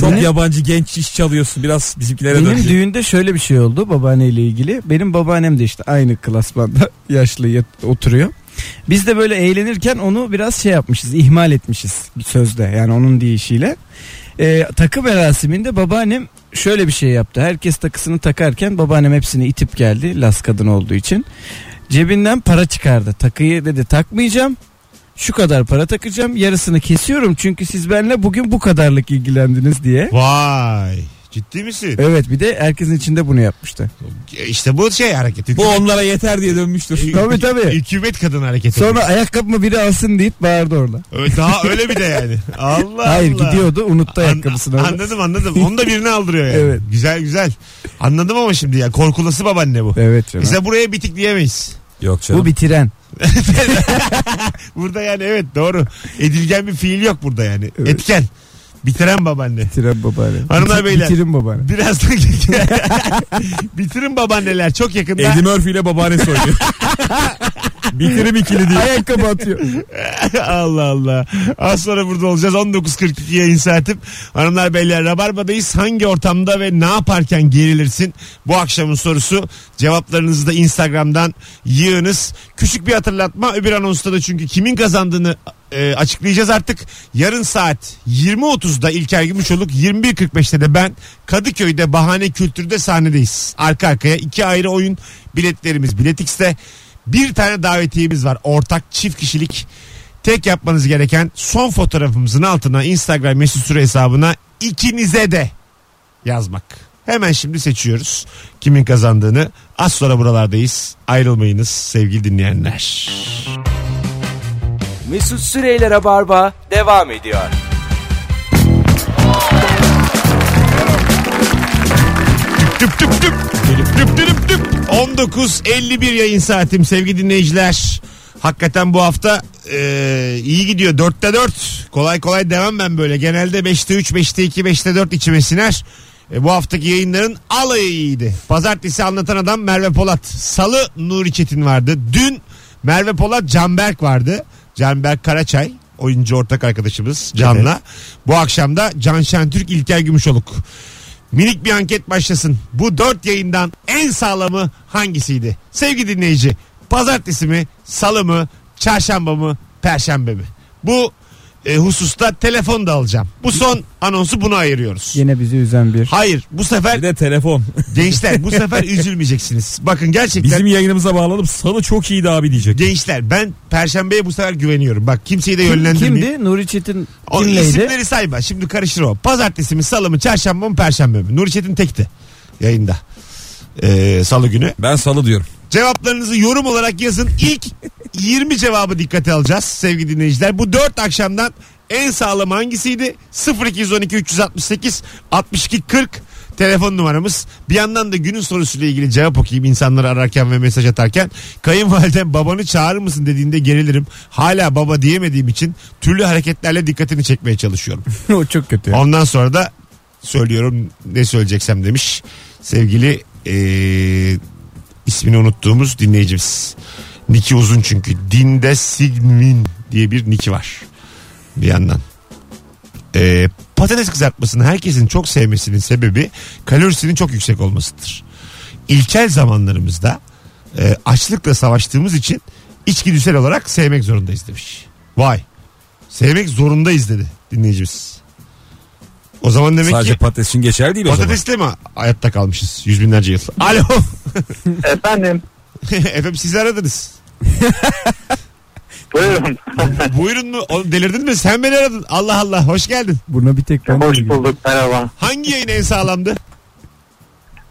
S4: (laughs)
S3: Çok yabancı genç iş çalıyorsun. Biraz bizimkilere
S4: Benim
S3: dönecek.
S4: düğünde şöyle bir şey oldu babaanneyle ilgili. Benim babaannem de işte aynı klasmanda (laughs) yaşlı yat- oturuyor. Biz de böyle eğlenirken onu biraz şey yapmışız, ihmal etmişiz bir sözde yani onun deyişiyle. Ee, takı merasiminde babaannem şöyle bir şey yaptı. Herkes takısını takarken babaannem hepsini itip geldi las kadın olduğu için. Cebinden para çıkardı. Takıyı dedi takmayacağım. şu kadar para takacağım yarısını kesiyorum çünkü siz benimle bugün bu kadarlık ilgilendiniz diye.
S2: Vay. Ciddi misin?
S4: Evet bir de herkesin içinde bunu yapmıştı.
S2: İşte bu şey hareketi.
S3: Bu onlara yeter diye dönmüştür.
S4: Tabii tabii.
S2: Hükümet kadın hareketi.
S4: Sonra ayakkabımı biri alsın deyip bağırdı orada.
S2: Ö- Daha öyle bir de yani. Allah
S4: Hayır
S2: Allah.
S4: gidiyordu unuttu
S2: An-
S4: ayakkabısını. orada.
S2: anladım anladım. Onu da birine aldırıyor yani.
S4: Evet.
S2: Güzel güzel. Anladım ama şimdi ya. Korkulası babaanne bu.
S4: Evet canım.
S2: Mesela buraya bitik diyemeyiz.
S3: Yok canım.
S4: Bu bitiren.
S2: Burada yani evet doğru. Edilgen bir fiil yok burada yani.
S4: Evet.
S2: Etken. Bitiren babaanne.
S4: Bitiren babaanne.
S2: Hanımlar,
S4: Biti-
S2: beyler.
S4: Bitirin babaanne.
S2: Birazdan (laughs) bitirin babaanneler çok yakında.
S3: Eddie Murphy ile babaannesi oynuyor. Bitirim ikili diye.
S4: Ayakkabı atıyor.
S2: (laughs) Allah Allah. Az sonra burada olacağız. 19.42 yayın saatim. Hanımlar beyler Rabarba'dayız. Hangi ortamda ve ne yaparken gerilirsin? Bu akşamın sorusu. Cevaplarınızı da Instagram'dan yığınız. Küçük bir hatırlatma. Öbür anonsta da çünkü kimin kazandığını e, açıklayacağız artık. Yarın saat 20.30'da İlker Gümüşoluk 21.45'te de ben Kadıköy'de Bahane Kültür'de sahnedeyiz. Arka arkaya iki ayrı oyun biletlerimiz Biletix'te. Bir tane davetiyemiz var. Ortak çift kişilik. Tek yapmanız gereken son fotoğrafımızın altına Instagram mesut süre hesabına ikinize de yazmak. Hemen şimdi seçiyoruz kimin kazandığını. Az sonra buralardayız. Ayrılmayınız sevgili dinleyenler.
S1: Mesut Süreyler'e barba devam ediyor.
S2: Tüp tüp tüp. Tüp tüp tüp tüp. 19.51 yayın saatim sevgili dinleyiciler. Hakikaten bu hafta e, iyi gidiyor. 4'te 4. Kolay kolay devam ben böyle. Genelde 5'te 3, 5'te 2, 5'te 4 içime siner. E, bu haftaki yayınların alayı iyiydi. Pazartesi anlatan adam Merve Polat. Salı Nuri Çetin vardı. Dün Merve Polat Canberk vardı. Canberk Karaçay oyuncu ortak arkadaşımız Can'la. Bu akşam da Can Şentürk İlker Gümüşoluk. Minik bir anket başlasın. Bu dört yayından en sağlamı hangisiydi? Sevgili dinleyici, pazartesi mi, salı mı, çarşamba mı, perşembe mi? Bu e, hususta telefon da alacağım. Bu son anonsu buna ayırıyoruz.
S4: Yine bizi üzen bir.
S2: Hayır, bu sefer
S3: Bir de telefon.
S2: gençler bu
S4: (laughs)
S2: sefer üzülmeyeceksiniz. Bakın gerçekten
S3: Bizim yayınımıza bağlanıp salı çok iyiydi abi diyecek.
S2: gençler ben perşembeye bu sefer güveniyorum. Bak kimseyi de yönlendirmeyeyim.
S4: Kimdi? Nuri Çetin
S2: O
S4: kimleydi?
S2: isimleri sayma. Şimdi karışır o. Pazartesi mi, salı mı, çarşamba mı, perşembe mi? Nuri Çetin tekti yayında. Ee, salı günü.
S3: Ben salı diyorum.
S2: Cevaplarınızı yorum olarak yazın. İlk 20 cevabı dikkate alacağız sevgili dinleyiciler. Bu 4 akşamdan en sağlam hangisiydi? 0212 368 62 40 telefon numaramız. Bir yandan da günün sorusuyla ilgili cevap okuyayım insanları ararken ve mesaj atarken. Kayınvalidem babanı çağırır mısın dediğinde gerilirim. Hala baba diyemediğim için türlü hareketlerle dikkatini çekmeye çalışıyorum.
S4: (laughs) o çok kötü.
S2: Ondan sonra da söylüyorum ne söyleyeceksem demiş sevgili eee, ismini unuttuğumuz dinleyicimiz. Niki uzun çünkü. Dinde Sigmin diye bir niki var. Bir yandan. Eee, Ee, patates kızartmasını herkesin çok sevmesinin sebebi kalorisinin çok yüksek olmasıdır. İlkel zamanlarımızda eee, açlıkla savaştığımız için içgüdüsel olarak sevmek zorundayız demiş. Vay. Sevmek zorundayız dedi dinleyicimiz. O zaman demek
S3: Sadece
S2: ki
S3: patates için geçerli değil o zaman.
S2: Patatesle mi hayatta kalmışız yüz binlerce yıl? Alo.
S5: (laughs) Efendim
S2: (laughs) Efendim sizi aradınız.
S5: buyurun.
S2: Buyurun mu? Oğlum delirdin mi? Sen beni aradın. Allah Allah hoş geldin.
S4: Buna bir tek ben
S5: Hoş
S4: de-
S5: bulduk merhaba.
S2: Hangi yayın en sağlamdı?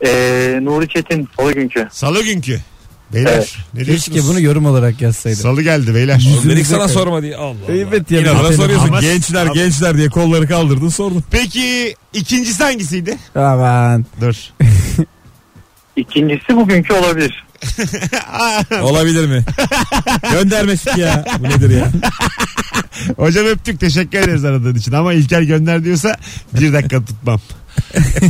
S5: Ee, Nuri Çetin salı günkü.
S2: Salı günkü. Beyler
S5: Evet.
S2: ne diyorsunuz?
S4: Keşke bunu yorum olarak yazsaydım.
S2: Salı geldi beyler.
S3: Oğlum dedik sana
S4: Yüzümüze
S3: sorma diye. Allah Allah.
S4: Evet ya,
S3: Yine bana
S4: bir
S3: soruyorsun.
S2: telefon.
S3: gençler
S2: Ama-
S3: gençler diye kolları kaldırdın sordun.
S2: Peki ikincisi hangisiydi?
S4: Aman.
S2: Dur.
S5: İkincisi bugünkü olabilir.
S3: Olabilir (laughs) mi? Göndermesin ya. Bu nedir ya?
S2: Hocam öptük teşekkür ederiz aradığın için ama İlker gönder diyorsa bir dakika (laughs) tutmam.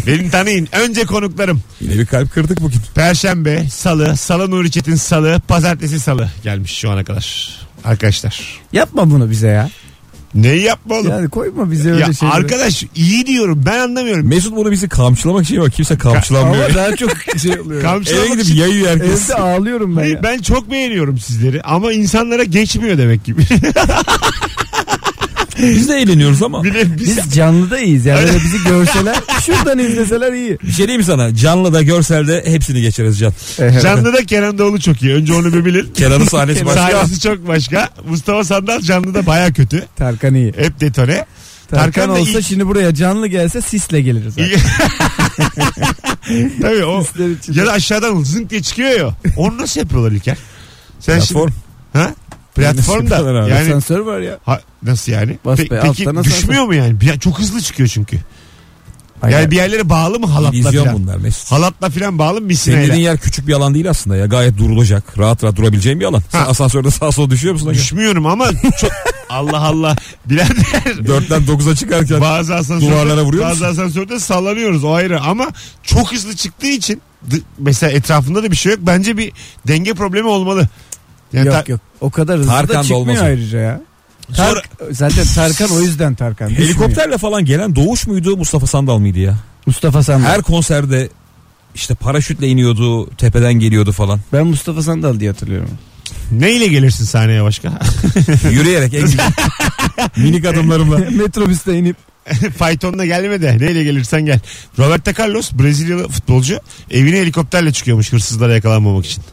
S2: Beni tanıyın. Önce konuklarım.
S3: (laughs) Yine bir kalp kırdık bugün.
S2: Perşembe, salı, salı Nuri Çetin salı, pazartesi salı gelmiş şu ana kadar. Arkadaşlar.
S4: Yapma bunu bize ya.
S2: Neyi yapma oğlum?
S4: Yani koyma bize
S2: Ya
S4: öyle şeyleri.
S2: arkadaş iyi diyorum ben anlamıyorum.
S3: Mesut bunu bizi kamçılamak için yok. Kimse kamçılanmıyor. (laughs)
S4: Ama daha çok şey oluyor.
S3: Eve
S2: Kamçılamak
S3: gidip
S2: için...
S3: yayıyor herkes.
S4: Evde ağlıyorum ben ya.
S2: Hayır, ben çok beğeniyorum sizleri ama insanlara geçmiyor demek gibi.
S3: Biz de eğleniyoruz
S2: (laughs)
S3: ama.
S2: Bir şey- de biz
S4: Biz canlıda
S2: (laughs)
S4: iyiyiz yani böyle bizi görseler şuradan izleseler iyi.
S3: Bir şey diyeyim mi sana? Canlı da görselde hepsini geçeriz Can.
S2: canlıda Kenan Doğulu çok iyi. Önce onu bir bilin.
S4: (laughs)
S3: Kenan'ın sahnesi başka.
S2: Sahnesi çok başka. Mustafa Sandal canlıda baya kötü.
S4: Tarkan iyi.
S2: Hep detone.
S4: Tarkan,
S2: Tarkan da
S4: olsa
S2: iyi-
S4: şimdi buraya canlı gelse sisle geliriz. abi.
S2: Tabii o.
S4: Sisler içinde.
S2: Ya da aşağıdan zınk diye çıkıyor ya. Onu nasıl yapıyorlar İlker? Sen
S3: Platform.
S2: Şimdi, ha? Platformda.
S3: yapıyorlar abi?
S2: Yani
S4: Asansör var ya.
S2: ha, nasıl yani?
S4: Bas
S2: Pe-
S4: be,
S2: peki
S4: alttan asansör.
S2: düşmüyor mu yani? Bir, çok hızlı çıkıyor çünkü.
S4: Hayır.
S2: Yani bir yerlere bağlı mı halatla
S3: İllüzyon
S2: filan?
S3: bunlar Mesut.
S2: Halatla filan bağlı mı
S3: Senin
S2: misineyle?
S3: dediğin yer küçük bir alan değil aslında ya. Gayet durulacak. Rahat rahat durabileceğin bir alan. Sen
S2: Ha.
S3: asansörde sağa sola düşüyor musun?
S2: Düşmüyorum ama çok... Allah Allah. Birader
S3: Dörtten dokuza çıkarken.
S2: bazı asansörde,
S3: Duvarlara vuruyor
S2: bazı asansörde sallanıyoruz o ayrı ama çok hızlı çıktığı için d- mesela etrafında da bir şey yok. Bence bir denge problemi olmalı. Yani
S4: yok
S2: ta-
S4: yok. O kadar hızlı
S3: Tarkan da
S4: da çıkmıyor
S3: olmaz o.
S4: ayrıca ya.
S2: Sonra-
S4: Tark- zaten Tarkan o yüzden Tarkan.
S3: (laughs)
S4: Düşmüyor.
S3: Helikopterle falan gelen Doğuş muydu Mustafa Sandal mıydı ya?
S4: Mustafa Sandal.
S3: Her konserde işte paraşütle iniyordu, tepeden geliyordu falan.
S4: Ben Mustafa Sandal diye hatırlıyorum.
S2: Neyle gelirsin sahneye başka? (laughs)
S3: Yürüyerek en güzel. Minik adımlarımla.
S4: (laughs) Metrobüste inip.
S2: Faytonla gelme de neyle gelirsen gel. Roberto Carlos Brezilyalı futbolcu evine helikopterle çıkıyormuş hırsızlara yakalanmamak için.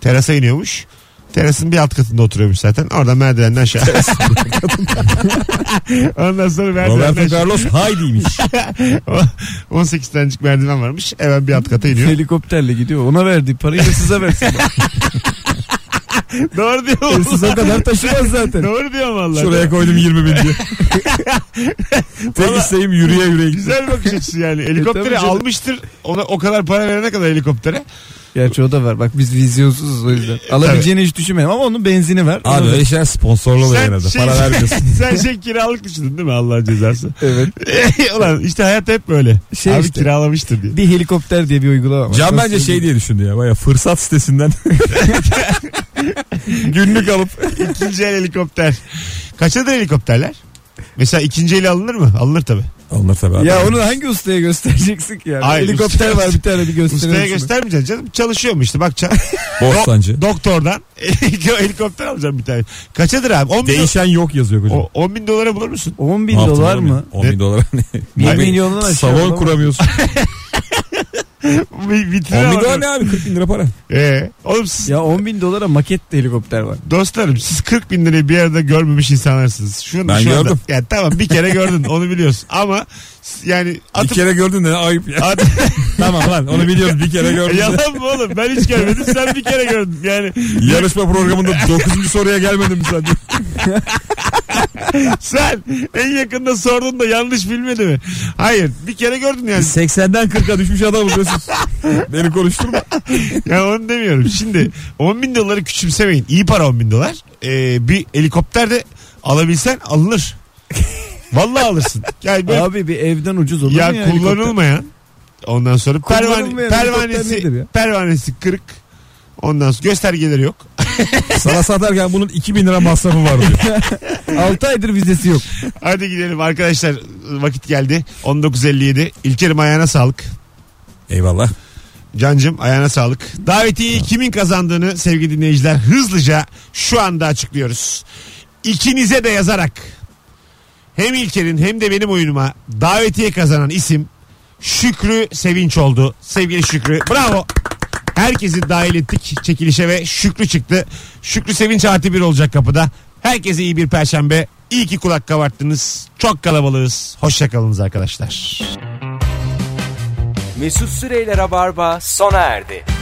S2: Terasa iniyormuş. Terasın bir alt katında oturuyormuş zaten. Oradan merdivenden
S3: (laughs)
S2: aşağı. Ondan sonra merdivenden
S3: Roberto
S2: aşağı.
S3: Carlos haydiymiş.
S2: 18 tanecik merdiven varmış. Hemen bir alt kata iniyor.
S4: Helikopterle gidiyor. Ona verdiği parayı
S3: (laughs)
S4: hırsıza versin.
S2: Doğru diyor
S4: Hırsız
S2: valla.
S4: o kadar taşımaz
S2: (laughs)
S4: zaten.
S2: Doğru diyor valla.
S3: (laughs) Şuraya koydum 20 bin diye. (laughs) Tek isteğim yürüye yürüye gidiyor.
S2: Güzel bakış açısı yani.
S4: (laughs) E,
S2: Helikopteri
S4: tabii canım.
S2: almıştır. Ona o kadar para verene kadar helikoptere.
S4: Gerçi o da var. Bak biz vizyonsuzuz o yüzden. Alabileceğini hiç düşünmedim ama onun benzini var.
S3: Abi öyle şeyler sponsorlu oluyor
S2: Sen
S3: herhalde.
S2: şey- (laughs)
S3: Para
S4: (laughs)
S3: vermiyorsun.
S2: Sen şey kiralık düşündün değil mi Allah'ın cezası?
S4: Evet.
S2: (laughs) Ulan işte hayat hep böyle.
S4: Şey
S2: Abi
S4: işte.
S2: kiralamıştır
S4: (laughs)
S2: diye.
S4: Bir helikopter diye bir uygulama var.
S3: Can
S4: Nasıl
S3: bence şey diye düşündü ya. Baya fırsat sitesinden (laughs) günlük alıp.
S2: (laughs) İkinci el helikopter. Kaçadır helikopterler? Mesela ikinci eli alınır mı? Alınır tabii.
S3: Alınır tabii abi.
S4: Ya onu hangi ustaya göstereceksin ki yani?
S2: Hayır,
S4: Helikopter
S2: usta-
S4: var bir tane bir gösterelim.
S2: Ustaya
S4: şunu.
S2: göstermeyeceksin canım. Çalışıyormuş işte bak.
S4: (laughs)
S2: ça-
S3: Bostancı.
S2: Doktordan (laughs) helikopter alacağım bir tane. Kaçadır abi? 10 bin,
S3: Değişen yok yazıyor hocam.
S2: o, 10 bin dolara bulur musun?
S4: 10 bin dolar mı?
S3: 10 bin dolar.
S4: Bir
S3: Abi,
S4: milyondan aşağı
S3: Salon
S4: olamaz.
S3: kuramıyorsun.
S4: (laughs)
S2: Bir vitrine
S3: 10 bin
S2: var.
S3: dolar ne abi 40 bin lira para.
S2: Ee, oğlum siz
S4: Ya 10 bin dolara maket de helikopter var.
S2: Dostlarım siz 40 bin lirayı bir arada görmemiş insanlarsınız. Şunu,
S3: Ben
S2: şu anda-
S3: gördüm.
S2: Yani tamam bir kere gördün onu biliyorsun ama s- yani
S3: Bir
S2: atıp...
S3: kere gördün de ayıp ya.
S2: At-
S3: (laughs) tamam lan onu biliyoruz bir kere gördün. de.
S2: Yalan mı oğlum? Ben hiç görmedim. Sen bir kere gördün.
S3: (laughs)
S2: Yani
S3: Yarışma programında 9. soruya gelmedim sen.
S2: sen en yakında sordun da yanlış bilmedi mi? Hayır. Bir kere gördün
S3: (laughs)
S2: yani.
S3: 80'den 40'a düşmüş adam diyorsun. Beni konuşturma.
S2: Ya onu demiyorum. Şimdi 10 bin doları küçümsemeyin. İyi para 10 bin dolar. Ee, bir helikopter de alabilsen alınır. Vallahi alırsın. Yani böyle
S4: Abi bir evden ucuz olur
S2: ya,
S4: mu ya? helikopter?
S2: kullanılmayan ondan sonra pervane,
S4: Kullanılmayan helikopter nedir
S2: pervanesi
S4: ya?
S2: pervanesi kırık ondan sonra göstergeleri yok. (laughs)
S3: Sana satarken bunun 2000 lira masrafı var diyor.
S4: 6 aydır vizesi yok.
S2: Hadi gidelim arkadaşlar vakit geldi 19.57 İlker'im ayağına sağlık.
S3: Eyvallah.
S2: Cancım ayağına sağlık. Davetiyi kimin kazandığını sevgili dinleyiciler hızlıca şu anda açıklıyoruz. İkinize de yazarak hem İlker'in hem de benim oyunuma davetiye kazanan isim Şükrü Sevinç oldu. Sevgili Şükrü bravo. Herkesi dahil ettik çekilişe ve Şükrü çıktı. Şükrü Sevinç artı bir olacak kapıda. Herkese iyi bir perşembe. İyi ki kulak kabarttınız. Çok kalabalığız. Hoşçakalınız arkadaşlar.
S1: Mesut Süreyler'e barba sona erdi.